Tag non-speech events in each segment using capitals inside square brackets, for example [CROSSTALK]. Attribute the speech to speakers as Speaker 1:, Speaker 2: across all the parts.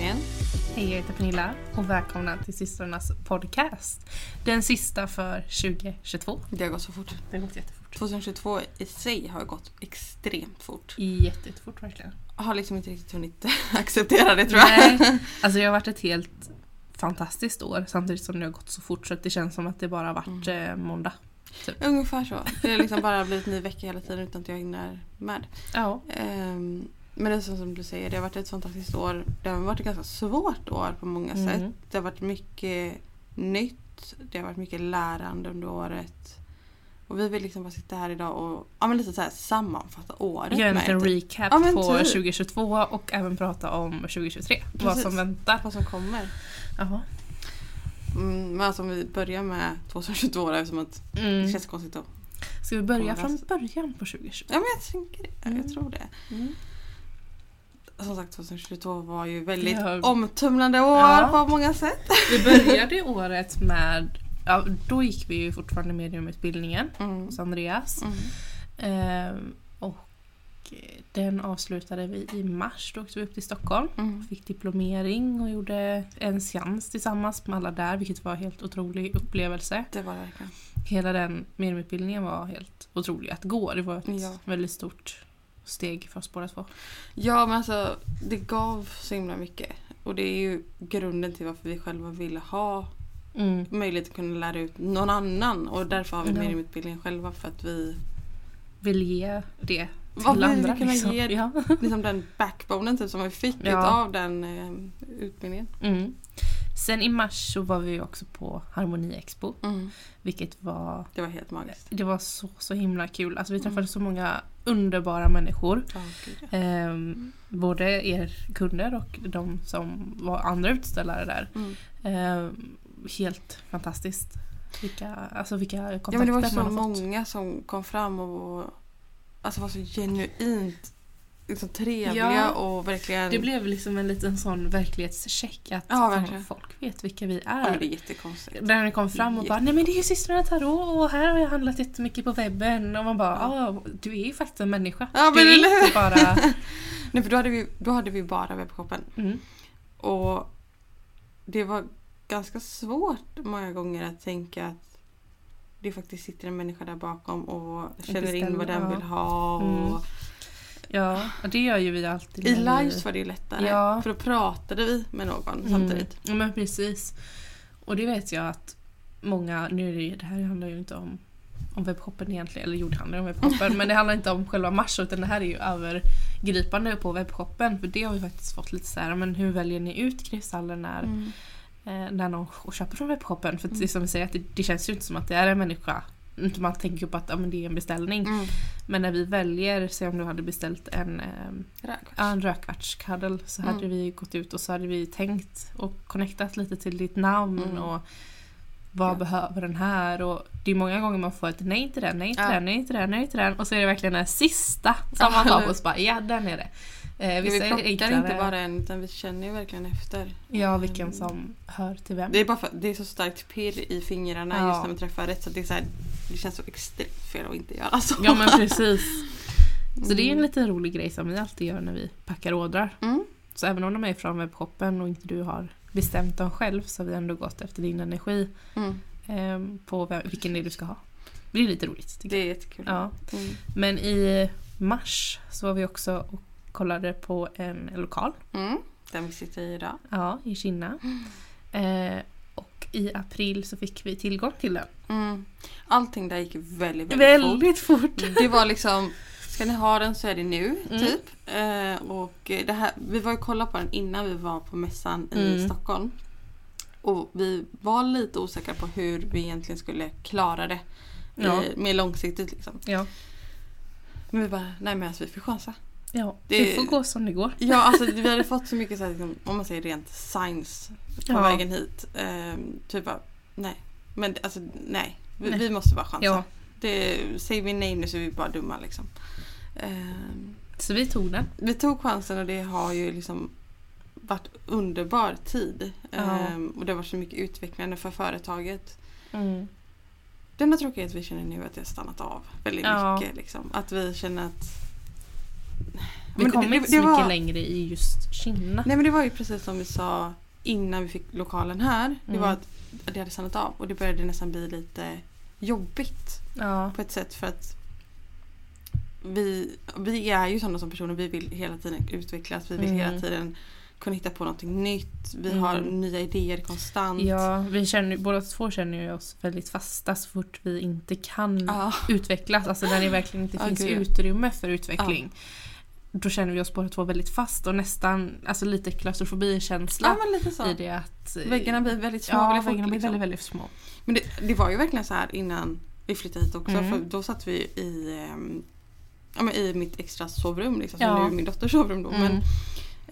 Speaker 1: Hej, jag heter Pernilla och välkomna till systrarnas podcast. Den sista för 2022.
Speaker 2: Det har gått så fort.
Speaker 1: Det har gått jättefort.
Speaker 2: 2022 i sig har gått extremt fort.
Speaker 1: Jättefort verkligen.
Speaker 2: Jag har liksom inte riktigt hunnit [LAUGHS] acceptera det tror jag.
Speaker 1: Nej, alltså det har varit ett helt fantastiskt år samtidigt som det har gått så fort så att det känns som att det bara har
Speaker 2: Mm.
Speaker 1: varit eh, måndag.
Speaker 2: [LAUGHS] Ungefär så. Det har liksom bara blivit ny vecka hela tiden utan att jag hinner med.
Speaker 1: Ja.
Speaker 2: Ehm, men det är så som du säger, det har varit ett fantastiskt år. Det har varit ett ganska svårt år på många
Speaker 1: Mm.
Speaker 2: sätt. Det har varit mycket nytt. Det har varit mycket lärande under året. Och vi vill liksom bara sitta här idag och ja, men lite så här, sammanfatta året.
Speaker 1: Göra en
Speaker 2: med
Speaker 1: liten
Speaker 2: lite
Speaker 1: recap
Speaker 2: Ja, men
Speaker 1: på
Speaker 2: typ.
Speaker 1: 2022 och även prata om 2023. Vad
Speaker 2: Precis.
Speaker 1: som väntar.
Speaker 2: Vad som kommer.
Speaker 1: Jaha.
Speaker 2: Mm, men alltså om vi börjar med 2022 då, eftersom att det
Speaker 1: Mm.
Speaker 2: känns konstigt att
Speaker 1: Ska vi börja från början på
Speaker 2: Ja
Speaker 1: 2022?
Speaker 2: men jag tänker det.
Speaker 1: Mm.
Speaker 2: Jag tror det.
Speaker 1: Mm.
Speaker 2: Som sagt 2022 var ju väldigt
Speaker 1: Ja.
Speaker 2: omtumlande år
Speaker 1: Ja.
Speaker 2: på många sätt.
Speaker 1: Vi började året med, ja, då gick vi ju fortfarande mediumutbildningen
Speaker 2: Mm.
Speaker 1: hos Andreas.
Speaker 2: Mm.
Speaker 1: Ehm, och eh, den avslutade vi i mars, då åkte vi upp till Stockholm.
Speaker 2: Mm.
Speaker 1: Fick diplomering och gjorde en seans tillsammans med alla där vilket var en helt otrolig upplevelse.
Speaker 2: Det var det verkligen.
Speaker 1: Hela den mediumutbildningen var helt otrolig att gå. Det var ett
Speaker 2: Ja.
Speaker 1: väldigt stort steg för oss båda två.
Speaker 2: Ja men alltså det gav så himla mycket. Och det är ju grunden till varför vi själva ville ha
Speaker 1: Mm.
Speaker 2: möjlighet att kunna lära ut någon annan. Och därför har vi
Speaker 1: Ja.
Speaker 2: mediumutbildningen själva för att vi
Speaker 1: Vill ge det till
Speaker 2: Vad vill vi
Speaker 1: andra.
Speaker 2: kunna ge
Speaker 1: Ja.
Speaker 2: liksom den backbonen typ som vi fick
Speaker 1: Ja.
Speaker 2: av den eh, utbildningen.
Speaker 1: Mm. Sen i mars så var vi ju också på Harmoniexpo vilket var
Speaker 2: Det var helt magiskt.
Speaker 1: det var så, så himla kul. Alltså vi
Speaker 2: Mm.
Speaker 1: träffade så många underbara människor.
Speaker 2: Ja, gud, ja. Mm.
Speaker 1: Ehm, både er kunder och de som var andra utställare där.
Speaker 2: Mm.
Speaker 1: Ehm, helt fantastiskt. Vilka, alltså vilka kontakter
Speaker 2: Ja men det var ju så
Speaker 1: man har fått.
Speaker 2: många som kom fram och alltså var så genuint liksom trevliga
Speaker 1: Ja.
Speaker 2: och verkligen...
Speaker 1: Det blev liksom en liten sån verklighetscheck att
Speaker 2: Ja,
Speaker 1: fan,
Speaker 2: verkligen.
Speaker 1: folk vet vilka vi
Speaker 2: ja, det är
Speaker 1: är.
Speaker 2: jättekonstigt.
Speaker 1: När ni kom fram och bara nej men det är ju systrarna Tarot och här har jag handlat jättemycket på webben och man bara ja du är ju faktiskt en människa.
Speaker 2: Ja,
Speaker 1: du
Speaker 2: men
Speaker 1: är
Speaker 2: eller hur?
Speaker 1: inte bara...
Speaker 2: [LAUGHS] Nej för då hade vi, då hade vi bara webbshoppen
Speaker 1: Mm.
Speaker 2: och det var ganska svårt många gånger att tänka att det faktiskt sitter en människa där bakom och känner in
Speaker 1: bestämmer,
Speaker 2: vad den
Speaker 1: ja.
Speaker 2: vill ha.
Speaker 1: Mm.
Speaker 2: Och
Speaker 1: Ja och det gör ju vi alltid.
Speaker 2: I
Speaker 1: när vi-
Speaker 2: lives var det ju lättare
Speaker 1: Ja.
Speaker 2: för då pratade vi med någon samtidigt.
Speaker 1: Mm. Ja, men precis. Och det vet jag att många, nu är det, ju- det här handlar ju inte om, om webbshoppen egentligen, eller jo det handlar ju
Speaker 2: [LAUGHS]
Speaker 1: om webbshoppen, men det handlar inte om själva mars utan det här är ju övergripande på webbshoppen för det har vi faktiskt fått lite så här, men hur väljer ni ut kristaller när,
Speaker 2: Mm.
Speaker 1: eh, när någon sh- köper från webbshoppen? För att det är som vi säger, att det, det känns ju inte som att det är en människa. Inte Man tänker ju på att ja, men det är en beställning.
Speaker 2: Mm.
Speaker 1: Men när vi väljer, säg om du hade beställt en ehm,
Speaker 2: Rökvars.
Speaker 1: Ja, en rökvartskaddel så hade
Speaker 2: Mm.
Speaker 1: vi gått ut och så hade vi tänkt och connectat lite till ditt namn
Speaker 2: Mm.
Speaker 1: och vad
Speaker 2: Ja.
Speaker 1: behöver den här och det är många gånger man får ett nej till den, nej till
Speaker 2: Ja.
Speaker 1: den, nej till den, nej till den och så är det verkligen den sista
Speaker 2: Ja,
Speaker 1: som man tar
Speaker 2: eller-
Speaker 1: på och så bara ja den är det. Eh,
Speaker 2: Vi
Speaker 1: vissa är
Speaker 2: plockar
Speaker 1: enklare.
Speaker 2: inte bara en utan vi känner ju verkligen efter. Mm.
Speaker 1: Ja vilken som hör till vem.
Speaker 2: Det är bara för det är så starkt pirr i fingrarna
Speaker 1: Ja.
Speaker 2: just när man träffar rätt så det är så här, det känns så extremt fel att inte göra alltså. så.
Speaker 1: Ja men precis. Så det är en liten rolig grej som vi alltid gör när vi packar ådrar.
Speaker 2: Mm.
Speaker 1: Så även om de är från webbshoppen och inte du har bestämt dem själv så har vi ändå gått efter din energi.
Speaker 2: Mm.
Speaker 1: ehm, på vem, vilken del du ska ha. Det är lite roligt. Tycker
Speaker 2: Det är jättekul.
Speaker 1: jag. Ja.
Speaker 2: Mm.
Speaker 1: Men i mars så var vi också och kollade på en lokal
Speaker 2: Mm. Den vi sitter i idag.
Speaker 1: ja, i Kina. Eh, och i april så fick vi tillgång till den.
Speaker 2: Mm. Allting där gick väldigt, väldigt,
Speaker 1: Väldigt fort!
Speaker 2: fort. Det var liksom, ska ni ha den så är det nu,
Speaker 1: Mm.
Speaker 2: typ. Eh, och eh, det här, vi var ju kolla på den innan vi var på mässan i
Speaker 1: Mm.
Speaker 2: Stockholm. Och vi var lite osäkra på hur vi egentligen skulle klara det.
Speaker 1: Ja.
Speaker 2: Eh, mer långsiktigt liksom.
Speaker 1: Ja,
Speaker 2: Men vi bara, nej men alltså vi får chansa.
Speaker 1: ja
Speaker 2: Det-
Speaker 1: det... får gå som det går.
Speaker 2: Ja [LAUGHS] alltså vi hade fått så mycket så här, liksom, om man säger rent science på
Speaker 1: Ja.
Speaker 2: vägen hit. Ehm, typ bara, nej. Men alltså nej. Vi,
Speaker 1: Nej.
Speaker 2: vi måste bara chansa.
Speaker 1: Ja,
Speaker 2: Det, säger vi nej nu så är vi bara dumma liksom. Ehm,
Speaker 1: så vi tog den.
Speaker 2: vi tog chansen och det har ju liksom varit underbar tid.
Speaker 1: Ja.
Speaker 2: Ehm, och det har varit så mycket utvecklande för företaget. Mm. Det enda tråkiga är att vi känner nu att det har stannat av väldigt
Speaker 1: Ja.
Speaker 2: mycket. Liksom. Att vi känner att...
Speaker 1: Vi
Speaker 2: Men
Speaker 1: kom
Speaker 2: det-
Speaker 1: inte
Speaker 2: det
Speaker 1: så mycket
Speaker 2: var-
Speaker 1: längre i just Kina.
Speaker 2: Nej men det var ju precis som vi sa innan vi fick lokalen här. Det
Speaker 1: Mm.
Speaker 2: var att det hade stannat av och det började nästan bli lite jobbigt
Speaker 1: Ja.
Speaker 2: på ett sätt för att vi, vi är ju sådana som personer, vi vill hela tiden utvecklas, vi vill
Speaker 1: Mm.
Speaker 2: hela tiden kunna hitta på någonting nytt, vi
Speaker 1: Mm.
Speaker 2: har nya idéer konstant.
Speaker 1: Ja, vi känner, båda två känner ju oss väldigt fasta så fort vi inte kan
Speaker 2: Ja.
Speaker 1: utvecklas, alltså när det verkligen inte
Speaker 2: Ja,
Speaker 1: finns
Speaker 2: gud, ja.
Speaker 1: utrymme för utveckling. Då känner vi oss båda två väldigt fast och nästan alltså lite
Speaker 2: ja
Speaker 1: klaustrofobikänsla
Speaker 2: men lite så.
Speaker 1: i det att eh,
Speaker 2: Väggarna blir väldigt små
Speaker 1: ja,
Speaker 2: väldigt fort.
Speaker 1: väggarna blir
Speaker 2: liksom.
Speaker 1: väldigt, väldigt små.
Speaker 2: Men det, det var ju verkligen så här innan vi flyttade hit också
Speaker 1: Mm.
Speaker 2: för då satt vi i, ehm, ja, men i mitt extra sovrum liksom,
Speaker 1: Ja.
Speaker 2: som nu är min dotters sovrum då.
Speaker 1: Mm.
Speaker 2: Men,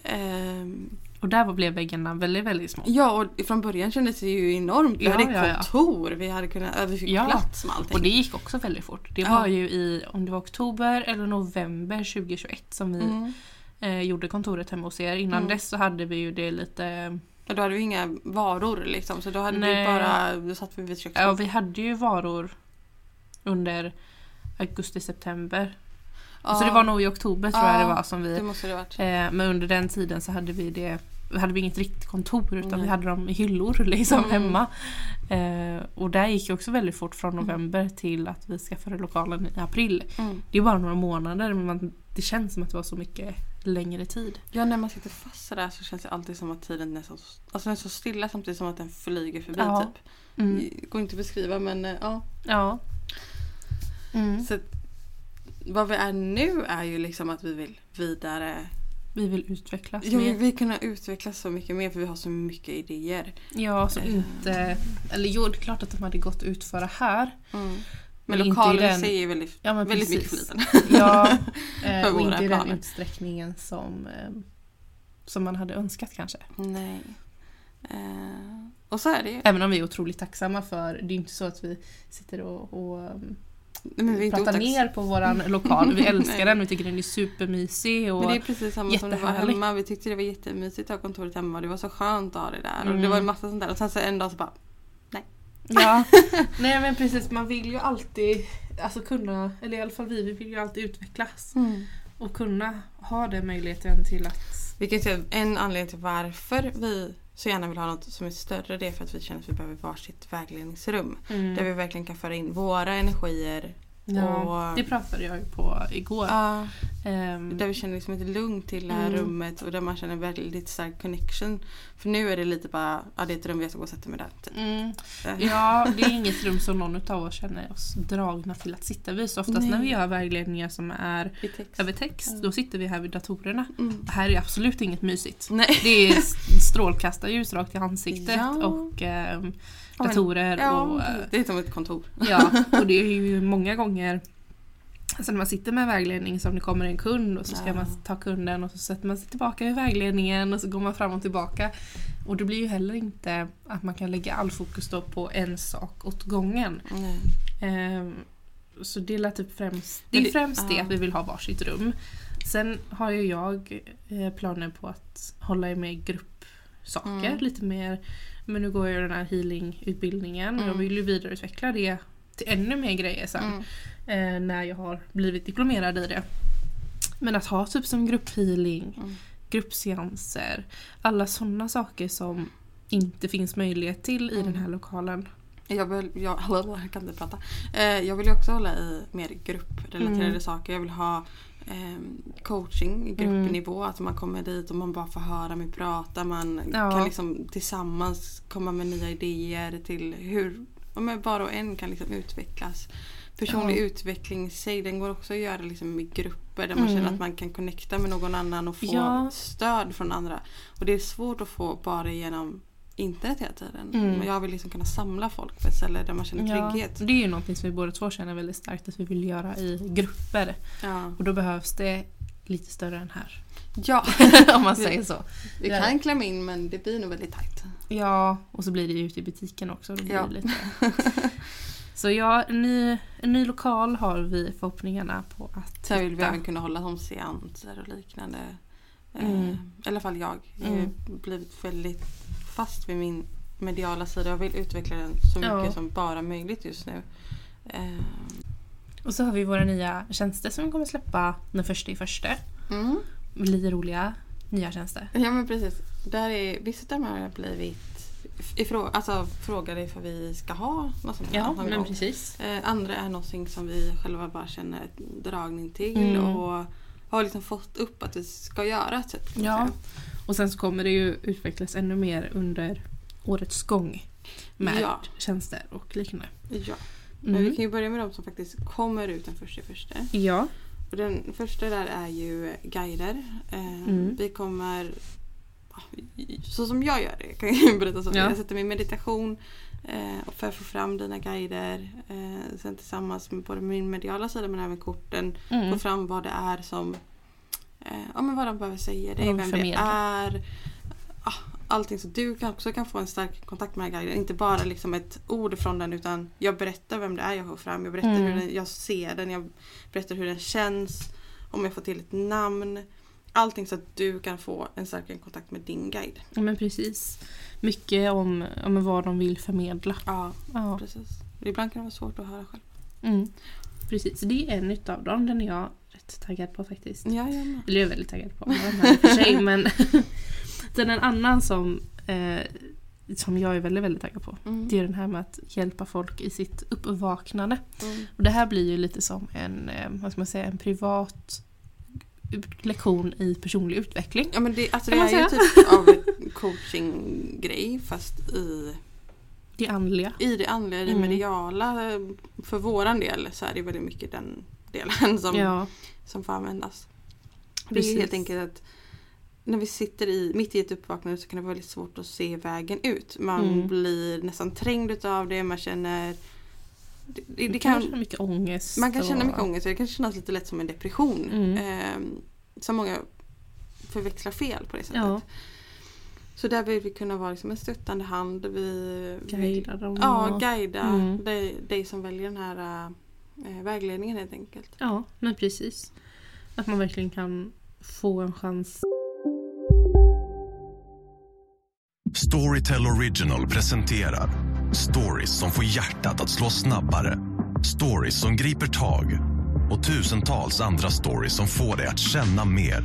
Speaker 2: ehm,
Speaker 1: Och där blev väggarna väldigt, väldigt små.
Speaker 2: ja och från början kändes det ju enormt. Vi
Speaker 1: Ja,
Speaker 2: hade
Speaker 1: ja, ja.
Speaker 2: kontor, vi, hade kunnat, ja, vi fick
Speaker 1: Ja.
Speaker 2: plats med allting.
Speaker 1: Och det gick också väldigt fort. Det
Speaker 2: Ja.
Speaker 1: var ju i, om det var oktober eller november 2021 som vi
Speaker 2: Mm.
Speaker 1: eh, gjorde kontoret hemma hos er. Innan
Speaker 2: Mm.
Speaker 1: dess så hade vi ju det lite...
Speaker 2: Och då hade vi inga varor liksom så då hade vi
Speaker 1: Nej.
Speaker 2: bara, då satt vi vid köksbordet.
Speaker 1: Ja, vi hade ju varor under augusti-september.
Speaker 2: Ja,
Speaker 1: Så Alltså, det var nog i oktober tror jag
Speaker 2: Ja,
Speaker 1: det var som vi...
Speaker 2: det måste det ha varit.
Speaker 1: Eh, men under den tiden så hade vi det vi hade vi inget riktigt kontor utan
Speaker 2: Nej.
Speaker 1: vi hade dem i hyllor [LAUGHS] liksom
Speaker 2: Mm.
Speaker 1: hemma. Eh, och där gick det också väldigt fort från november till att vi skaffade lokalen i april.
Speaker 2: Mm.
Speaker 1: Det är bara några månader men man, det känns som att det var så mycket längre tid.
Speaker 2: Ja när man sitter fast sådär så känns det alltid som att tiden nästan, alltså den är så stilla samtidigt som att den flyger förbi
Speaker 1: Ja. Mm.
Speaker 2: typ. Går inte att beskriva men eh, ja.
Speaker 1: Ja. Mm.
Speaker 2: Så att, vad vi är nu är ju liksom att vi vill vidare.
Speaker 1: Vi vill utvecklas
Speaker 2: Ja, vi
Speaker 1: mer.
Speaker 2: vill kunna utvecklas så mycket mer för vi har så mycket idéer.
Speaker 1: Ja, som
Speaker 2: Eh.
Speaker 1: inte... Eller jo, det är klart att de hade gått att utföra här.
Speaker 2: Mm.
Speaker 1: Men
Speaker 2: Men
Speaker 1: inte i
Speaker 2: lokalen i
Speaker 1: den-
Speaker 2: sig är väldigt,
Speaker 1: Ja, men
Speaker 2: väldigt mycket för liten.
Speaker 1: [LAUGHS] Ja, eh,
Speaker 2: För
Speaker 1: och
Speaker 2: våra
Speaker 1: inte i den
Speaker 2: planer.
Speaker 1: utsträckningen som, eh, som man hade önskat kanske.
Speaker 2: [LAUGHS] Nej. Eh, och så är det ju.
Speaker 1: Även om vi är otroligt tacksamma för, det är ju inte så att vi sitter och, och um,
Speaker 2: Nej, Men vi är inte
Speaker 1: pratar
Speaker 2: otacks-
Speaker 1: ner på våran lokal. [LAUGHS] Vi älskar
Speaker 2: Nej.
Speaker 1: den, vi tycker den är supermysig. Och,
Speaker 2: Men det är precis samma som det var
Speaker 1: Jättehärligt.
Speaker 2: hemma. Vi tyckte det var jättemysigt att ha kontoret hemma. Det var så skönt att ha det där. Och det
Speaker 1: Mm.
Speaker 2: var en massa sånt där. Och sen så en dag så bara...
Speaker 1: ja. [LAUGHS] Nej men precis, man vill ju alltid alltså kunna, eller i alla fall vi, vi vill ju alltid utvecklas. Och kunna ha den möjligheten till att
Speaker 2: Vilket är en anledning till varför vi så gärna vill ha något som är större. Det är för att vi känner att vi behöver varsitt vägledningsrum. Där vi verkligen kan föra in våra energier.
Speaker 1: Mm. ja,
Speaker 2: och-
Speaker 1: det pratade jag ju på igår.
Speaker 2: Ja,
Speaker 1: Ehm,
Speaker 2: Där vi känner liksom ett lugn till det här
Speaker 1: Mm.
Speaker 2: rummet och där man känner väldigt stark connection. För nu är det lite bara, ja det är ett rum jag ska gå och sätta mig där. Typ.
Speaker 1: Mm.
Speaker 2: Eh.
Speaker 1: Ja, det är inget rum som någon av oss känner oss dragna till att sitta vid. Så oftast
Speaker 2: Nej. Mm.
Speaker 1: när vi gör vägledningar som är
Speaker 2: I text.
Speaker 1: över text, då sitter vi här vid datorerna.
Speaker 2: Mm.
Speaker 1: Det här är absolut inget mysigt. [LAUGHS]
Speaker 2: Nej.
Speaker 1: Det är strålkastarljus rakt i ansiktet
Speaker 2: Ja.
Speaker 1: och ehm,
Speaker 2: men-
Speaker 1: datorer. och,
Speaker 2: Ja,
Speaker 1: eh,
Speaker 2: det är som ett kontor.
Speaker 1: ja, och det är ju många gånger Alltså när man sitter med vägledning som det kommer en kund och så ska
Speaker 2: Ja.
Speaker 1: man ta kunden och så sätter man sig tillbaka i vägledningen och så går man fram och tillbaka. Och det blir ju heller inte att man kan lägga all fokus då på en sak åt gången.
Speaker 2: Nej.
Speaker 1: Ehm, så det är la typ främst det,
Speaker 2: Men
Speaker 1: är
Speaker 2: det-
Speaker 1: främst det
Speaker 2: ja.
Speaker 1: att vi vill ha varsitt rum. Sen har ju jag eh, planer på att hålla i mer gruppsaker.
Speaker 2: Mm.
Speaker 1: Lite mer, men nu går jag ju den här healingutbildningen och jag
Speaker 2: Mm.
Speaker 1: vill ju vidareutveckla det till ännu mer grejer sen.
Speaker 2: Mm.
Speaker 1: Eh, när jag har blivit diplomerad i det. Men att ha typ som grupphealing,
Speaker 2: Mm.
Speaker 1: gruppseanser, alla sådana saker som inte finns möjlighet till i
Speaker 2: Mm.
Speaker 1: den här lokalen.
Speaker 2: Jag vill, jag, [LAUGHS] jag kan inte prata. Eh, jag vill ju också hålla i mer grupprelaterade
Speaker 1: Mm.
Speaker 2: saker. Jag vill ha ehm, coaching i gruppnivå.
Speaker 1: Mm.
Speaker 2: Att man kommer dit och man bara får höra mig prata. Man
Speaker 1: Ja.
Speaker 2: kan liksom tillsammans komma med nya idéer till hur ja, men var och en kan liksom utvecklas. Personlig
Speaker 1: Ja.
Speaker 2: utveckling i sig den går också att göra liksom i grupper där man
Speaker 1: Mm.
Speaker 2: känner att man kan connecta med någon annan och få
Speaker 1: Ja.
Speaker 2: stöd från andra. Och det är svårt att få bara genom internet hela tiden.
Speaker 1: Mm.
Speaker 2: Men jag vill liksom kunna samla folk på ett ställe där man känner
Speaker 1: Ja,
Speaker 2: trygghet.
Speaker 1: det är ju någonting som vi båda två känner väldigt starkt att vi vill göra i grupper.
Speaker 2: Ja.
Speaker 1: Och då behövs det lite större än här. [LAUGHS]
Speaker 2: ja,
Speaker 1: Om man säger så.
Speaker 2: vi
Speaker 1: Ja.
Speaker 2: kan klämma in men det blir nog väldigt tajt.
Speaker 1: Ja, och så blir det ju ute i butiken också. Då blir
Speaker 2: Ja.
Speaker 1: det lite. [LAUGHS] Så ja, en ny, en ny lokal har vi förhoppningarna på att
Speaker 2: Sen vill vi
Speaker 1: hitta.
Speaker 2: även kunna hålla som seanser och liknande.
Speaker 1: Mm.
Speaker 2: Eh, I alla fall jag. Jag har
Speaker 1: Mm.
Speaker 2: blivit väldigt fast vid min mediala sida. Jag vill utveckla den så mycket
Speaker 1: Ja.
Speaker 2: som bara möjligt just nu. Eh,
Speaker 1: Och så har vi våra nya tjänster som vi kommer släppa den första i första.
Speaker 2: mm.
Speaker 1: Lite roliga nya tjänster.
Speaker 2: Ja men precis. Där är, vissa av dem har blivit ifrå, alltså, frågade ifall vi ska ha något sånt här
Speaker 1: Ja,
Speaker 2: någon
Speaker 1: men
Speaker 2: gång.
Speaker 1: precis.
Speaker 2: Eh, Andra är någonting som vi själva bara känner ett dragning till
Speaker 1: Mm.
Speaker 2: och har liksom fått upp att vi ska göra. Typ, kan man
Speaker 1: Ja.
Speaker 2: säga.
Speaker 1: Och sen så kommer det ju utvecklas ännu mer under årets gång med
Speaker 2: Ja.
Speaker 1: tjänster och liknande.
Speaker 2: ja. Men
Speaker 1: Mm.
Speaker 2: vi kan ju börja med de som faktiskt kommer ut den första i första.
Speaker 1: Ja.
Speaker 2: Och den första där är ju guider. Eh,
Speaker 1: Mm.
Speaker 2: Vi kommer, så som jag gör det, kan jag ju berätta så.
Speaker 1: Ja.
Speaker 2: Jag sätter mig i meditation eh, och för att få fram dina guider. Eh, sen tillsammans med både min mediala sida men även korten
Speaker 1: Mm.
Speaker 2: få fram vad det är som eh, ja, men vad de behöver säga dig,
Speaker 1: Vad de
Speaker 2: vem det
Speaker 1: förmedlar.
Speaker 2: är. Ah, Allting så du kan också kan få en stark kontakt med den här guiden. Inte bara liksom ett ord från den utan jag berättar vem det är jag får fram. Jag berättar
Speaker 1: Mm.
Speaker 2: hur den, jag ser den, jag berättar hur den känns. Om jag får till ett namn. Allting så att du kan få en starkare kontakt med din guide.
Speaker 1: Ja, men precis. Mycket om, om vad de vill förmedla.
Speaker 2: Ja,
Speaker 1: Ja.
Speaker 2: precis. Ibland kan det vara svårt att höra själv.
Speaker 1: Mm. Precis, det är en utav dem. Den är jag rätt taggad på faktiskt.
Speaker 2: Ja, jag med.
Speaker 1: Eller jag är väldigt taggad på alla de här i och
Speaker 2: [LAUGHS]
Speaker 1: för sig men [LAUGHS] Sen en annan som, eh, som jag är väldigt, väldigt taggad på
Speaker 2: Mm.
Speaker 1: det är den här med att hjälpa folk i sitt uppvaknande.
Speaker 2: Mm.
Speaker 1: Och det här blir ju lite som en, eh, vad ska man säga, en privat lektion i personlig utveckling.
Speaker 2: Ja men det, alltså, det
Speaker 1: Kan
Speaker 2: är
Speaker 1: man
Speaker 2: ju typ av en coaching-grej fast i
Speaker 1: Det andliga.
Speaker 2: i det andliga, i det
Speaker 1: Mm.
Speaker 2: mediala eh, för våran del så är det väldigt mycket den delen [LAUGHS] som,
Speaker 1: Ja,
Speaker 2: som får användas. Det är
Speaker 1: Precis.
Speaker 2: ju helt enkelt att när vi sitter i, mitt i ett uppvaknande så kan det vara väldigt svårt att se vägen ut. Man
Speaker 1: Mm.
Speaker 2: blir nästan trängd utav det, man känner... Det, det,
Speaker 1: det
Speaker 2: det
Speaker 1: kan
Speaker 2: kan,
Speaker 1: känna mycket ångest.
Speaker 2: man kan
Speaker 1: och-
Speaker 2: känna mycket ångest och det kan kännas lite lätt som en depression.
Speaker 1: Mm.
Speaker 2: Eh, som många förväxlar fel på det sättet.
Speaker 1: Ja.
Speaker 2: Så där vill vi kunna vara liksom en stöttande hand. Vi, vi,
Speaker 1: Guida dem.
Speaker 2: Ja,
Speaker 1: och-
Speaker 2: guida
Speaker 1: Mm.
Speaker 2: dig, dig som väljer den här eh, vägledningen helt enkelt.
Speaker 1: ja, men precis. Att man verkligen kan få en chans.
Speaker 3: Storytel Original presenterar stories som får hjärtat att slå snabbare. Stories som griper tag och tusentals andra stories som får dig att känna mer.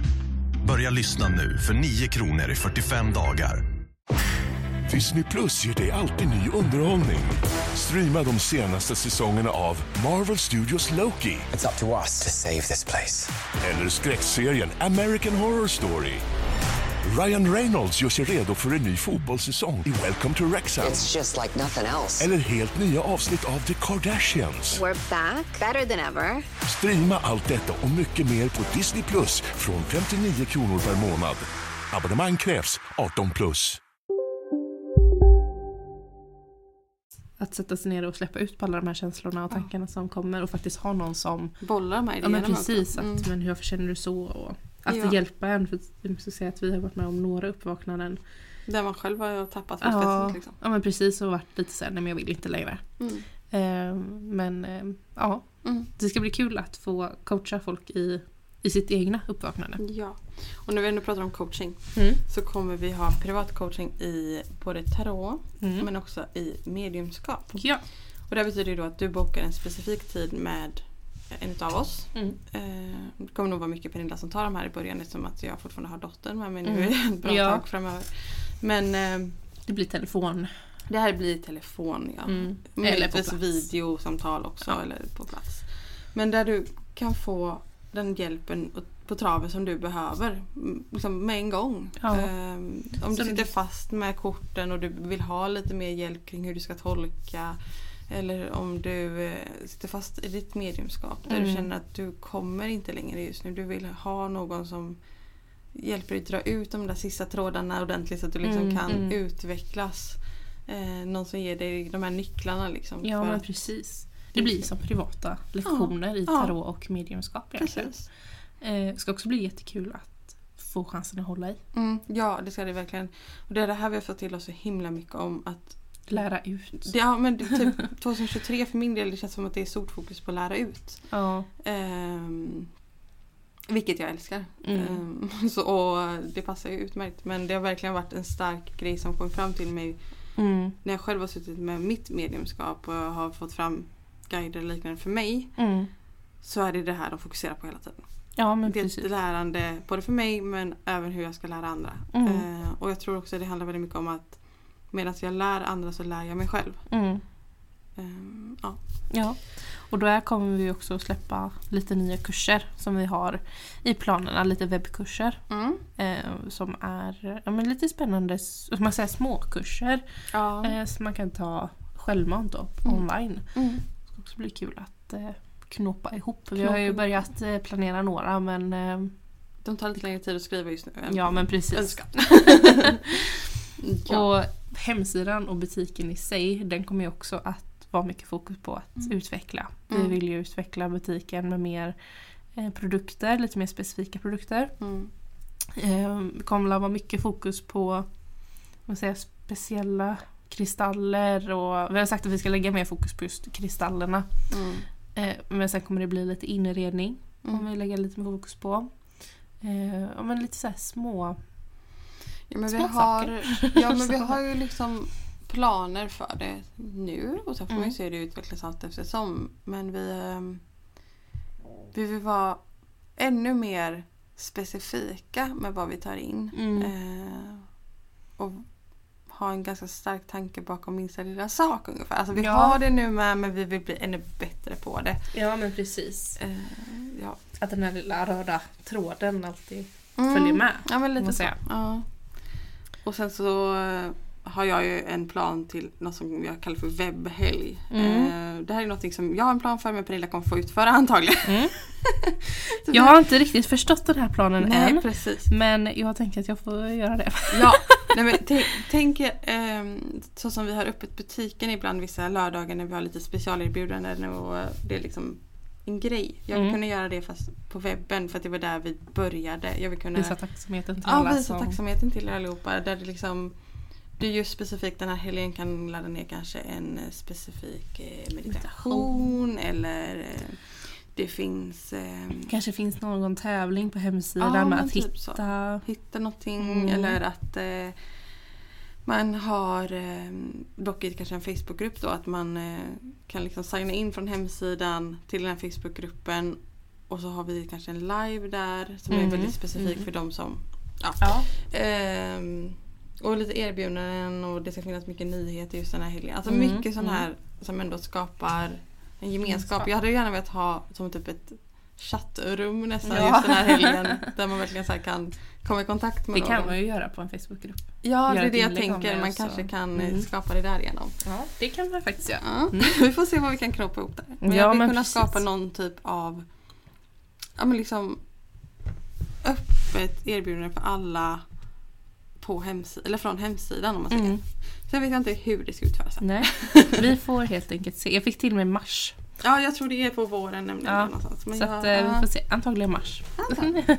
Speaker 3: Börja lyssna nu för 9 kronor i 45 dagar.
Speaker 4: Disney Plus ger dig alltid ny underhållning. Streama de senaste säsongerna av Marvel Studios Loki
Speaker 5: It's up to us to save this place.
Speaker 4: eller skräckserien American Horror Story. Ryan Reynolds gör sig redo för en ny fotbollssäsong i Welcome to Rexham.
Speaker 6: It's just like nothing else.
Speaker 4: Eller helt nya avsnitt av The Kardashians.
Speaker 7: We're back, better than ever.
Speaker 4: Streama allt detta och mycket mer på Disney Plus från 59 kronor per månad. Abonnemang krävs 18 plus.
Speaker 1: Att sätta sig ner och släppa ut på alla de här känslorna och tankarna som kommer och faktiskt ha någon som
Speaker 2: Bollar med
Speaker 1: Ja men
Speaker 2: idéerna
Speaker 1: precis,
Speaker 2: också.
Speaker 1: att,
Speaker 2: Mm.
Speaker 1: men hur känner du så? Och att
Speaker 2: Ja.
Speaker 1: hjälpa en, för jag måste säga att vi har varit med om några uppvaknanden.
Speaker 2: Där man själv har tappat
Speaker 1: Ja,
Speaker 2: fotfästet. Liksom.
Speaker 1: ja men precis och varit lite såhär, nej men jag vill inte längre.
Speaker 2: Mm.
Speaker 1: Eh, men eh, ja,
Speaker 2: Mm.
Speaker 1: det ska bli kul att få coacha folk i, i sitt egna uppvaknande.
Speaker 2: Ja. Och när vi ändå pratar om coaching
Speaker 1: Mm.
Speaker 2: så kommer vi ha privat coaching i både tarot
Speaker 1: Mm.
Speaker 2: men också i mediumskap.
Speaker 1: Ja.
Speaker 2: Och det betyder ju då att du bokar en specifik tid med en utav oss.
Speaker 1: Mm.
Speaker 2: Eh, Det kommer nog vara mycket Pernilla som tar de här i början eftersom att jag fortfarande har dottern med mig nu ett [LAUGHS] bra
Speaker 1: Mm. Ja.
Speaker 2: tag framöver. Men eh,
Speaker 1: Det blir telefon.
Speaker 2: Det här blir telefon ja.
Speaker 1: Mm. Eller på
Speaker 2: Möjligtvis
Speaker 1: plats.
Speaker 2: videosamtal också eller på plats. Men där du kan få den hjälpen och- på traven som du behöver. m- Liksom med en gång.
Speaker 1: Ja.
Speaker 2: Ehm, om du
Speaker 1: Som-
Speaker 2: sitter fast med korten och du vill ha lite mer hjälp kring hur du ska tolka. Eller om du eh, sitter fast i ditt mediumskap där du
Speaker 1: Mm.
Speaker 2: känner att du kommer inte längre just nu. Du vill ha någon som hjälper dig dra ut de där sista trådarna ordentligt så att du liksom
Speaker 1: Mm,
Speaker 2: kan
Speaker 1: mm.
Speaker 2: utvecklas. Eh, någon som ger dig de här nycklarna liksom.
Speaker 1: Ja
Speaker 2: för
Speaker 1: men
Speaker 2: att-
Speaker 1: precis. Det blir som privata lektioner i
Speaker 2: Ja.
Speaker 1: tarot och mediumskap egentligen.
Speaker 2: precis.
Speaker 1: Eh, ska också bli jättekul att få chansen att hålla i.
Speaker 2: Mm, ja det ska det verkligen. Och det är det här vi har fått till oss så himla mycket om att
Speaker 1: Lära ut.
Speaker 2: det, ja, men det,
Speaker 1: [LAUGHS]
Speaker 2: typ 2023 för min del det känns som att det är stort fokus på att lära ut.
Speaker 1: Ja.
Speaker 2: Ehm, vilket jag älskar.
Speaker 1: Mm.
Speaker 2: Ehm, så, och det passar ju utmärkt. Men det har verkligen varit en stark grej som kom fram till mig
Speaker 1: Mm.
Speaker 2: när jag själv har suttit med mitt mediumskap och har fått fram guider och liknande för mig.
Speaker 1: Mm.
Speaker 2: så är det det här de fokuserar på hela tiden.
Speaker 1: Ja men
Speaker 2: det är ett
Speaker 1: precis.
Speaker 2: lärande både för mig men även hur jag ska lära andra. Eh, och jag tror också det handlar väldigt mycket om att medan jag lär andra så lär jag mig själv.
Speaker 1: Mm.
Speaker 2: Eh, ja.
Speaker 1: Ja, och där kommer vi också släppa lite nya kurser som vi har i planerna, lite webbkurser
Speaker 2: Mm.
Speaker 1: eh, som är ja, men lite spännande, s- om man säger småkurser
Speaker 2: ja.
Speaker 1: eh, som man kan ta självmant då, online.
Speaker 2: Mm.
Speaker 1: Det ska också bli kul att eh, knåpa ihop. Vi har ju börjat eh, planera några men eh,
Speaker 2: De tar lite längre tid att skriva just nu än
Speaker 1: ja men precis.
Speaker 2: önskan. ja.
Speaker 1: Och hemsidan och butiken i sig den kommer ju också att vara mycket fokus på att utveckla. Vi
Speaker 2: Mm.
Speaker 1: vill ju utveckla butiken med mer eh, produkter, lite mer specifika produkter.
Speaker 2: Mm.
Speaker 1: Eh, Det kommer att vara mycket fokus på vad säger, jag, speciella kristaller och vi har sagt att vi ska lägga mer fokus på just kristallerna.
Speaker 2: Mm.
Speaker 1: Eh, Men sen kommer det bli lite inredning. Kommer
Speaker 2: Mm.
Speaker 1: vi lägga lite mer fokus på. Eh, ja, men lite så här små.
Speaker 2: Ja, men vi
Speaker 1: Små
Speaker 2: har, ja men
Speaker 1: [LAUGHS]
Speaker 2: vi
Speaker 1: Så.
Speaker 2: har ju liksom planer för det nu och sen får man
Speaker 1: Mm.
Speaker 2: ju se hur det utvecklas allt eftersom. Men vi, ehm, vi vill vara ännu mer specifika med vad vi tar in.
Speaker 1: Mm.
Speaker 2: Eh, och ha en ganska stark tanke bakom minsta lilla sak ungefär. Alltså vi
Speaker 1: Ja.
Speaker 2: har det nu med men vi vill bli ännu bättre på det.
Speaker 1: Ja men precis.
Speaker 2: Eh, ja.
Speaker 1: Att den här lilla röda tråden alltid
Speaker 2: Mm.
Speaker 1: följer med.
Speaker 2: Ja men
Speaker 1: kan man
Speaker 2: lite så.
Speaker 1: säga.
Speaker 2: Ja. Och sen så eh, har jag ju en plan till något som jag kallar för webbhelg. Eh, Det här är något som jag har en plan för men Pernilla kommer få utföra [LAUGHS] antagligen. Så vi-
Speaker 1: Jag har inte riktigt förstått den här planen
Speaker 2: Nej
Speaker 1: än.
Speaker 2: precis.
Speaker 1: Men jag tänker att jag får göra det.
Speaker 2: Ja, nej, men tänk, tänk eh, så som vi har öppet butiken ibland vissa lördagar när vi har lite specialerbjudanden och eh, det är liksom en grej. Jag vill
Speaker 1: Mm.
Speaker 2: kunna göra det fast på webben för att det var där vi började. Jag vill kunna
Speaker 1: Visa tacksamheten till
Speaker 2: Ja,
Speaker 1: alla
Speaker 2: visa
Speaker 1: som...
Speaker 2: tacksamheten till er allihopa. Där det liksom, du just specifikt den här helgen kan ladda ner kanske en eh, specifik eh, meditation eller eh, det finns eh,
Speaker 1: kanske finns någon tävling på hemsidan
Speaker 2: Ja,
Speaker 1: med
Speaker 2: men
Speaker 1: att
Speaker 2: typ så.
Speaker 1: hitta.
Speaker 2: hitta någonting
Speaker 1: Mm.
Speaker 2: eller att eh, man har eh, dock i kanske en Facebookgrupp då att man eh, kan liksom signa in från hemsidan till den här Facebookgruppen och så har vi kanske en live där som
Speaker 1: Mm.
Speaker 2: är väldigt specifik
Speaker 1: Mm.
Speaker 2: för de som
Speaker 1: Ja.
Speaker 2: Ehm, och lite erbjudanden och det ska finnas mycket nyheter just den här helgen. Alltså
Speaker 1: Mm,
Speaker 2: mycket sån
Speaker 1: mm.
Speaker 2: här som ändå skapar en gemenskap.
Speaker 1: Gemenskap.
Speaker 2: Jag hade gärna velat ha som typ ett chattrum nästan
Speaker 1: Ja.
Speaker 2: just den här
Speaker 1: [LAUGHS]
Speaker 2: helgen. Där man verkligen så här kan komma i kontakt med
Speaker 1: Det kan
Speaker 2: någon.
Speaker 1: man ju göra på en Facebookgrupp.
Speaker 2: Ja, det
Speaker 1: göra
Speaker 2: är
Speaker 1: ett
Speaker 2: det jag
Speaker 1: inlägg om
Speaker 2: tänker.
Speaker 1: det
Speaker 2: Man
Speaker 1: också.
Speaker 2: kanske kan eh,
Speaker 1: Mm.
Speaker 2: skapa det där igenom.
Speaker 1: Ja, det kan man faktiskt göra.
Speaker 2: Ja. [LAUGHS] Vi får se vad vi kan knåpa ihop där. Men
Speaker 1: Mm. Ja,
Speaker 2: jag vill
Speaker 1: men
Speaker 2: kunna
Speaker 1: precis.
Speaker 2: skapa någon typ av ja, men liksom öppet erbjudande för alla på hemsidan, eller från hemsidan om man säger.
Speaker 1: Mm.
Speaker 2: Sen vet jag inte hur det ska utföras.
Speaker 1: Nej, [LAUGHS] vi får helt enkelt se. Jag fick till mig mars.
Speaker 2: Ja, jag tror det är på våren nämligen.
Speaker 1: Ja,
Speaker 2: eller någonstans. Men
Speaker 1: Så
Speaker 2: jag,
Speaker 1: att, eh, vi
Speaker 2: ja.
Speaker 1: får se. Antagligen mars.
Speaker 2: Mm.
Speaker 1: [LAUGHS]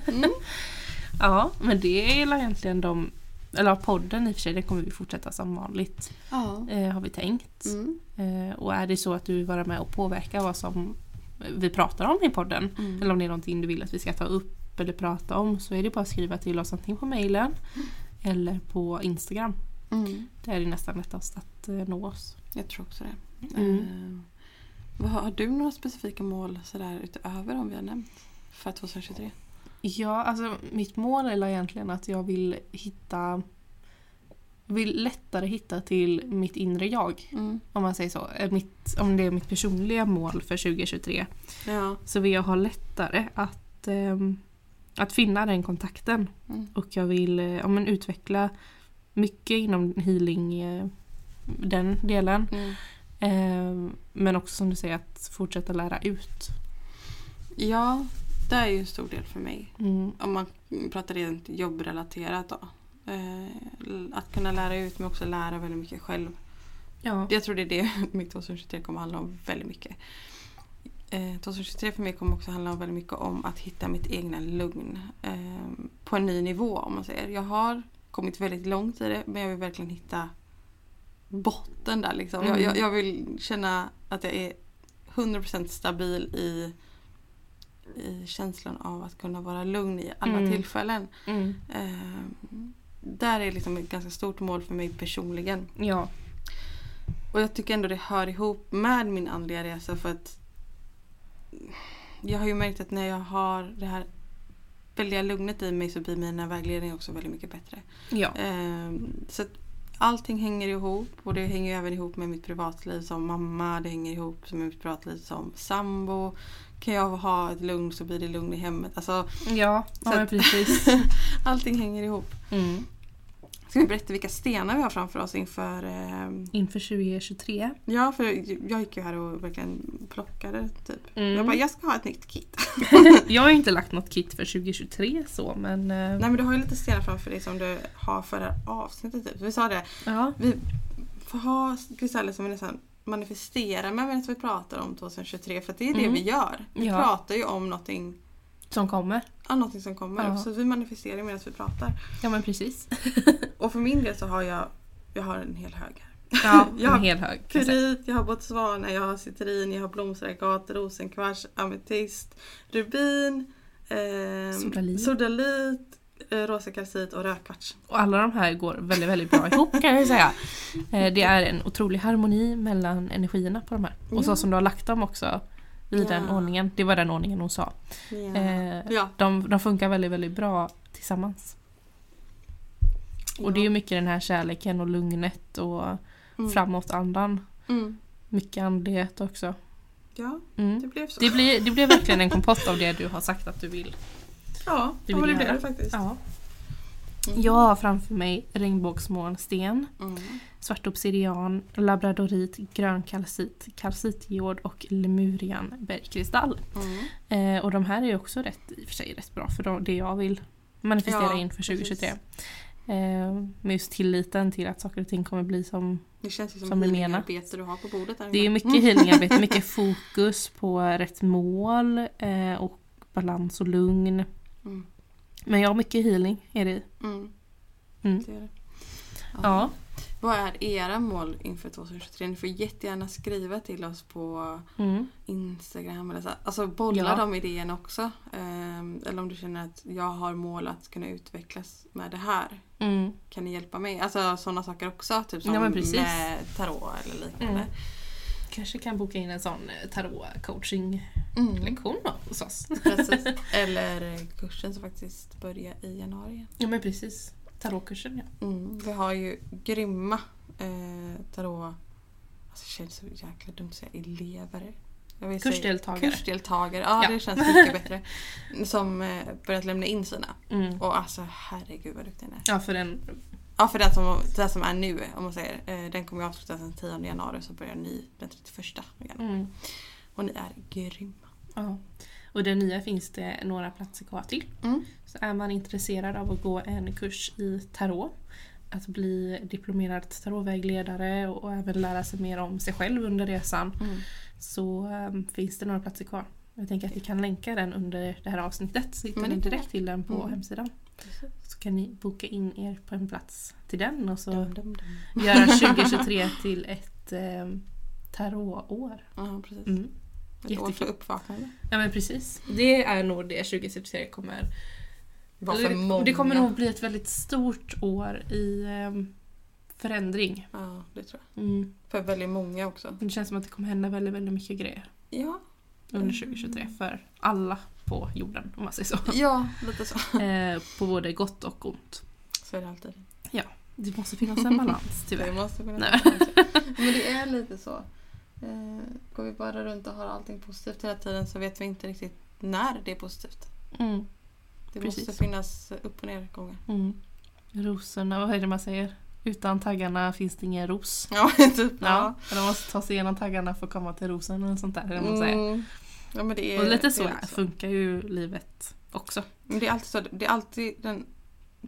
Speaker 1: Ja, men det är väl egentligen de... Eller ja, podden i och för sig, den kommer vi fortsätta som vanligt.
Speaker 2: Ja.
Speaker 1: Eh, har vi tänkt.
Speaker 2: Mm.
Speaker 1: Eh, och är det så att du vill vara med och påverka vad som vi pratar om i podden.
Speaker 2: Mm.
Speaker 1: Eller om det är någonting du vill att vi ska ta upp eller prata om. Så är det bara att skriva till oss antingen på mejlen eller på Instagram.
Speaker 2: Mm.
Speaker 1: Där är det nästan lättast att eh, nå oss.
Speaker 2: Jag tror också det.
Speaker 1: Mm.
Speaker 2: Eh, vad, har du några specifika mål sådär utöver de vi har nämnt? För 2023?
Speaker 1: Ja, alltså mitt mål är väl egentligen att jag vill hitta vill lättare hitta till mitt inre jag.
Speaker 2: Mm.
Speaker 1: Om man säger så. Eh, Mitt, om det är mitt personliga mål för 2023.
Speaker 2: Ja.
Speaker 1: Så vill jag ha lättare att, ehm, att finna den kontakten.
Speaker 2: Mm.
Speaker 1: Och jag vill eh, ja, men utveckla mycket inom healing, eh, den delen.
Speaker 2: Mm.
Speaker 1: Ehm, men också som du säger att fortsätta lära ut.
Speaker 2: Ja, det är ju en stor del för mig.
Speaker 1: Mm.
Speaker 2: Om man pratar rent jobbrelaterat då. Eh, Att kunna lära ut men också lära väldigt mycket själv.
Speaker 1: Ja.
Speaker 2: Jag tror det är det [LAUGHS] mitt 2023 kommer handla om väldigt mycket. Eh, 2023 för mig kommer också handla om väldigt mycket om att hitta mitt egna lugn. eh, På en ny nivå om man säger. Jag har kommit väldigt långt i det men jag vill verkligen hitta botten där liksom. Jag,
Speaker 1: Mm.
Speaker 2: jag, jag vill känna att jag är 100% stabil i, i känslan av att kunna vara lugn i alla
Speaker 1: Mm.
Speaker 2: tillfällen.
Speaker 1: Mm.
Speaker 2: Eh, där är liksom ett ganska stort mål för mig personligen.
Speaker 1: Ja.
Speaker 2: Och jag tycker ändå det hör ihop med min andliga resa för att jag har ju märkt att när jag har det här väldiga lugnet i mig så blir mina vägledningar också väldigt mycket bättre.
Speaker 1: Ja.
Speaker 2: Ehm, så att allting hänger ihop och det hänger ju även ihop med mitt privatliv som mamma. Det hänger ihop med mitt privatliv som sambo. Kan jag ha ett lugn så blir det lugn i hemmet. Alltså, [LAUGHS]
Speaker 1: Ja, ja
Speaker 2: Så
Speaker 1: men
Speaker 2: att-
Speaker 1: [LAUGHS] precis.
Speaker 2: allting hänger ihop.
Speaker 1: Mm.
Speaker 2: Ska vi berätta vilka stenar vi har framför oss inför... ehm,
Speaker 1: Inför 2023.
Speaker 2: ja, för jag gick ju här och verkligen plockade typ.
Speaker 1: Mm.
Speaker 2: Jag bara, jag ska ha ett nytt kit. [LAUGHS]
Speaker 1: Jag har inte lagt något kit för 2023 så men... eh,
Speaker 2: Nej men du har ju lite stenar framför dig som du har för det här avsnittet typ. Vi sa det,
Speaker 1: Ja.
Speaker 2: vi får ha kristaller som vi nästan manifesterar med medan vi pratar om 2023 för att det är det
Speaker 1: Mm.
Speaker 2: vi gör. Vi
Speaker 1: Ja.
Speaker 2: pratar ju om någonting,
Speaker 1: Som kommer.
Speaker 2: ja, någonting som kommer
Speaker 1: Ja.
Speaker 2: så vi manifesterar medan vi pratar.
Speaker 1: Ja men precis.
Speaker 2: Och för min del så har jag, jag har en hel hög här.
Speaker 1: [LAUGHS] Ja,
Speaker 2: Ja,
Speaker 1: en hel hög. kan jag säga.
Speaker 2: Pyrit, jag har botswana, jag har citrin, jag har blomsteraggat, rosenkvarts, ametist, rubin, ehm,
Speaker 1: Sodalit.
Speaker 2: sodalit, eh, rosa kalcit och rödkvarts.
Speaker 1: Och alla de här går väldigt, väldigt bra ihop kan jag ju säga. Eh, Det är en otrolig harmoni mellan energierna på de här. Och så som du har lagt dem också i
Speaker 2: Ja.
Speaker 1: den ordningen. Det var den ordningen hon sa.
Speaker 2: Ja.
Speaker 1: Eh,
Speaker 2: Ja.
Speaker 1: De, de funkar väldigt, väldigt bra tillsammans. Och det är ju mycket den här kärleken och lugnet och
Speaker 2: Mm.
Speaker 1: framåtandan.
Speaker 2: Mm.
Speaker 1: Mycket andlighet också.
Speaker 2: Ja, det
Speaker 1: Mm.
Speaker 2: blev så.
Speaker 1: Det blir, det blir verkligen en kompott av det du har sagt att du vill.
Speaker 2: ja,
Speaker 1: det
Speaker 2: ja, men
Speaker 1: vill
Speaker 2: det blev
Speaker 1: jag göra.
Speaker 2: det faktiskt.
Speaker 1: Ja. Mm. Jag har framför mig regnbågsmånsten,
Speaker 2: Mm.
Speaker 1: svart obsidian, labradorit, grön kalcit, kalcitjord och lemurian bergkristall.
Speaker 2: Mm.
Speaker 1: Eh, och de här är ju också rätt, i och för sig rätt bra för de- det jag vill manifestera
Speaker 2: Ja,
Speaker 1: inför
Speaker 2: precis.
Speaker 1: 2023. Eh, med just tilliten till att saker och ting kommer bli som...
Speaker 2: Det känns ju som,
Speaker 1: Som vi
Speaker 2: som
Speaker 1: menar.
Speaker 2: arbete du har på bordet. Där
Speaker 1: Det är ju
Speaker 2: inne.
Speaker 1: mycket healingarbete, mycket fokus på rätt mål eh, och balans och lugn.
Speaker 2: Mm.
Speaker 1: Men jag har mycket healing är det i.
Speaker 2: [LAUGHS] Mm.
Speaker 1: Mm.
Speaker 2: Det är det.
Speaker 1: Ja.
Speaker 2: Vad är era mål inför 2023? Ni får jättegärna skriva till oss på
Speaker 1: Mm.
Speaker 2: Instagram eller så. Alltså bolla
Speaker 1: Ja.
Speaker 2: de idéerna också. Ehm, eller om du känner att jag har mål att kunna utvecklas med det här.
Speaker 1: Mm.
Speaker 2: Kan ni hjälpa mig? Alltså sådana saker också. Typ som
Speaker 1: Ja, men precis.
Speaker 2: med tarot eller liknande.
Speaker 1: Kanske kan boka in en sån eh, tarot-coaching-lektion
Speaker 2: Mm.
Speaker 1: [LAUGHS] hos oss.
Speaker 2: Precis. Eller kursen som faktiskt börjar i januari. igen.
Speaker 1: Ja men precis. Tarotkursen ja.
Speaker 2: Mm, vi har ju grymma eh, tarot... Alltså, det känns så jäkla dumt att säga elever. Jag vill säga-
Speaker 1: Kursdeltagare.
Speaker 2: Kursdeltagare, ja,
Speaker 1: Ja.
Speaker 2: det känns mycket bättre.
Speaker 1: [LAUGHS]
Speaker 2: Som eh, börjat lämna in sina.
Speaker 1: Mm.
Speaker 2: Och alltså herregud vad duktig den är.
Speaker 1: Ja för den...
Speaker 2: Ja för den som, den som är nu om man säger. Eh, den kommer ju avslutas den 10 januari så börjar ni den 31 januari.
Speaker 1: Mm.
Speaker 2: Och ni är grymma.
Speaker 1: Ja. Och det nya finns det några platser kvar till.
Speaker 2: Mm.
Speaker 1: Så är man intresserad av att gå en kurs i tarot, att bli diplomerad tarotvägledare och även lära sig mer om sig själv under resan
Speaker 2: Mm.
Speaker 1: så ehm, finns det några platser kvar. Jag tänker att vi kan länka den under det här avsnittet så hittar
Speaker 2: Mm, det
Speaker 1: ni
Speaker 2: kan
Speaker 1: direkt till den på
Speaker 2: Mm.
Speaker 1: hemsidan. Så kan ni boka in er på en plats till den och så
Speaker 2: Dum, dum, dum.
Speaker 1: [LAUGHS] göra 2023 till ett ehm, tarotår.
Speaker 2: Ja precis.
Speaker 1: Mm.
Speaker 2: Ett år för
Speaker 1: jättekul.
Speaker 2: uppvaknande.
Speaker 1: Ja men precis. Det är nog det 2023 kommer
Speaker 2: Det var
Speaker 1: Eller
Speaker 2: för
Speaker 1: Alltså, det-
Speaker 2: många.
Speaker 1: Det kommer nog bli ett väldigt stort år i ehm, förändring.
Speaker 2: Ja det tror jag.
Speaker 1: Mm.
Speaker 2: För väldigt många också.
Speaker 1: Det känns som att det kommer hända väldigt, väldigt mycket grejer
Speaker 2: Ja,
Speaker 1: under 2023 för alla på jorden om man säger så.
Speaker 2: ja lite så.
Speaker 1: Eh, på både gott och ont.
Speaker 2: Så är det alltid.
Speaker 1: Det måste finnas en balans
Speaker 2: Det
Speaker 1: tyvärr.
Speaker 2: måste kunna
Speaker 1: Nej.
Speaker 2: vara så. Men det är lite så. Eh, Går vi bara runt och har allting positivt hela tiden så vet vi inte riktigt när det är positivt.
Speaker 1: [LAUGHS] Mm,
Speaker 2: Det
Speaker 1: Precis.
Speaker 2: måste finnas upp och nergångar.
Speaker 1: mm. Rosorna, vad är det man säger? Utan taggarna finns det ingen ros.
Speaker 2: [LAUGHS] Ja, typ.
Speaker 1: Ja. De måste ta sig igenom taggarna för att komma till rosen eller sånt där. Eller vad man säger.
Speaker 2: Mm. Ja, men det är,
Speaker 1: Och lite
Speaker 2: det
Speaker 1: Mm, så
Speaker 2: är lite
Speaker 1: funkar ju livet också.
Speaker 2: Men det är alltid så. Det är alltid den,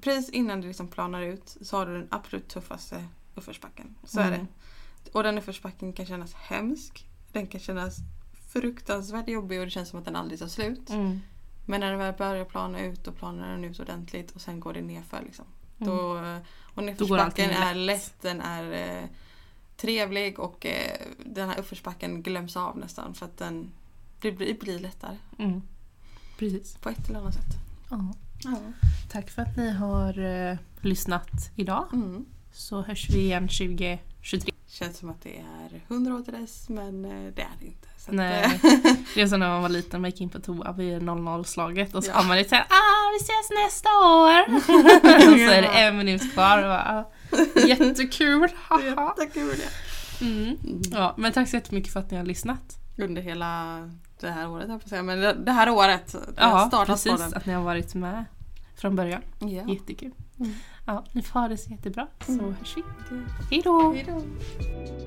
Speaker 2: precis innan det liksom planar ut så har du den absolut tuffaste uppförsbacken. Så är
Speaker 1: Mm.
Speaker 2: det. Och den uppförsbacken kan kännas hemsk. Den kan kännas fruktansvärt jobbig och det känns som att den aldrig tar slut.
Speaker 1: Mm.
Speaker 2: Men när det väl börjar plana ut, då planar den ut ordentligt och sen går det nerför. Liksom. Då, och nerförsbacken
Speaker 1: allting
Speaker 2: är
Speaker 1: lätt.
Speaker 2: lätt, den är eh, trevlig och eh, den här uppförsbacken glöms av nästan för att den det blir, det blir lättare
Speaker 1: Mm. Precis.
Speaker 2: på ett eller annat sätt.
Speaker 1: Ja. Tack för att ni har eh, lyssnat idag.
Speaker 2: Mm.
Speaker 1: Så hörs vi igen 2023.
Speaker 2: Känns som att det är 100 år till dess men eh, det är det inte. Så att,
Speaker 1: Nej.
Speaker 2: eh,
Speaker 1: Det är som när man var liten, man gick in på toa vid 00-slaget och så
Speaker 2: Ja.
Speaker 1: kom man dit såhär ah vi ses nästa
Speaker 2: [LAUGHS]
Speaker 1: år! och så är det en minut kvar och bara, ah, jättekul! [LAUGHS]
Speaker 2: det är
Speaker 1: haha.
Speaker 2: jättekul. [LAUGHS] ja.
Speaker 1: mm. ja, men tack så jättemycket för att ni har lyssnat.
Speaker 2: Under hela det här året höll jag på att säga. Men det, det här året. Det har
Speaker 1: Ja,
Speaker 2: startat
Speaker 1: precis.
Speaker 2: podden.
Speaker 1: Att ni har varit med från början.
Speaker 2: Ja. Mm.
Speaker 1: Jättekul. Ja, ni får ha det så jättebra så hörs vi.
Speaker 2: Det-
Speaker 1: Hejdå!
Speaker 2: Hej då.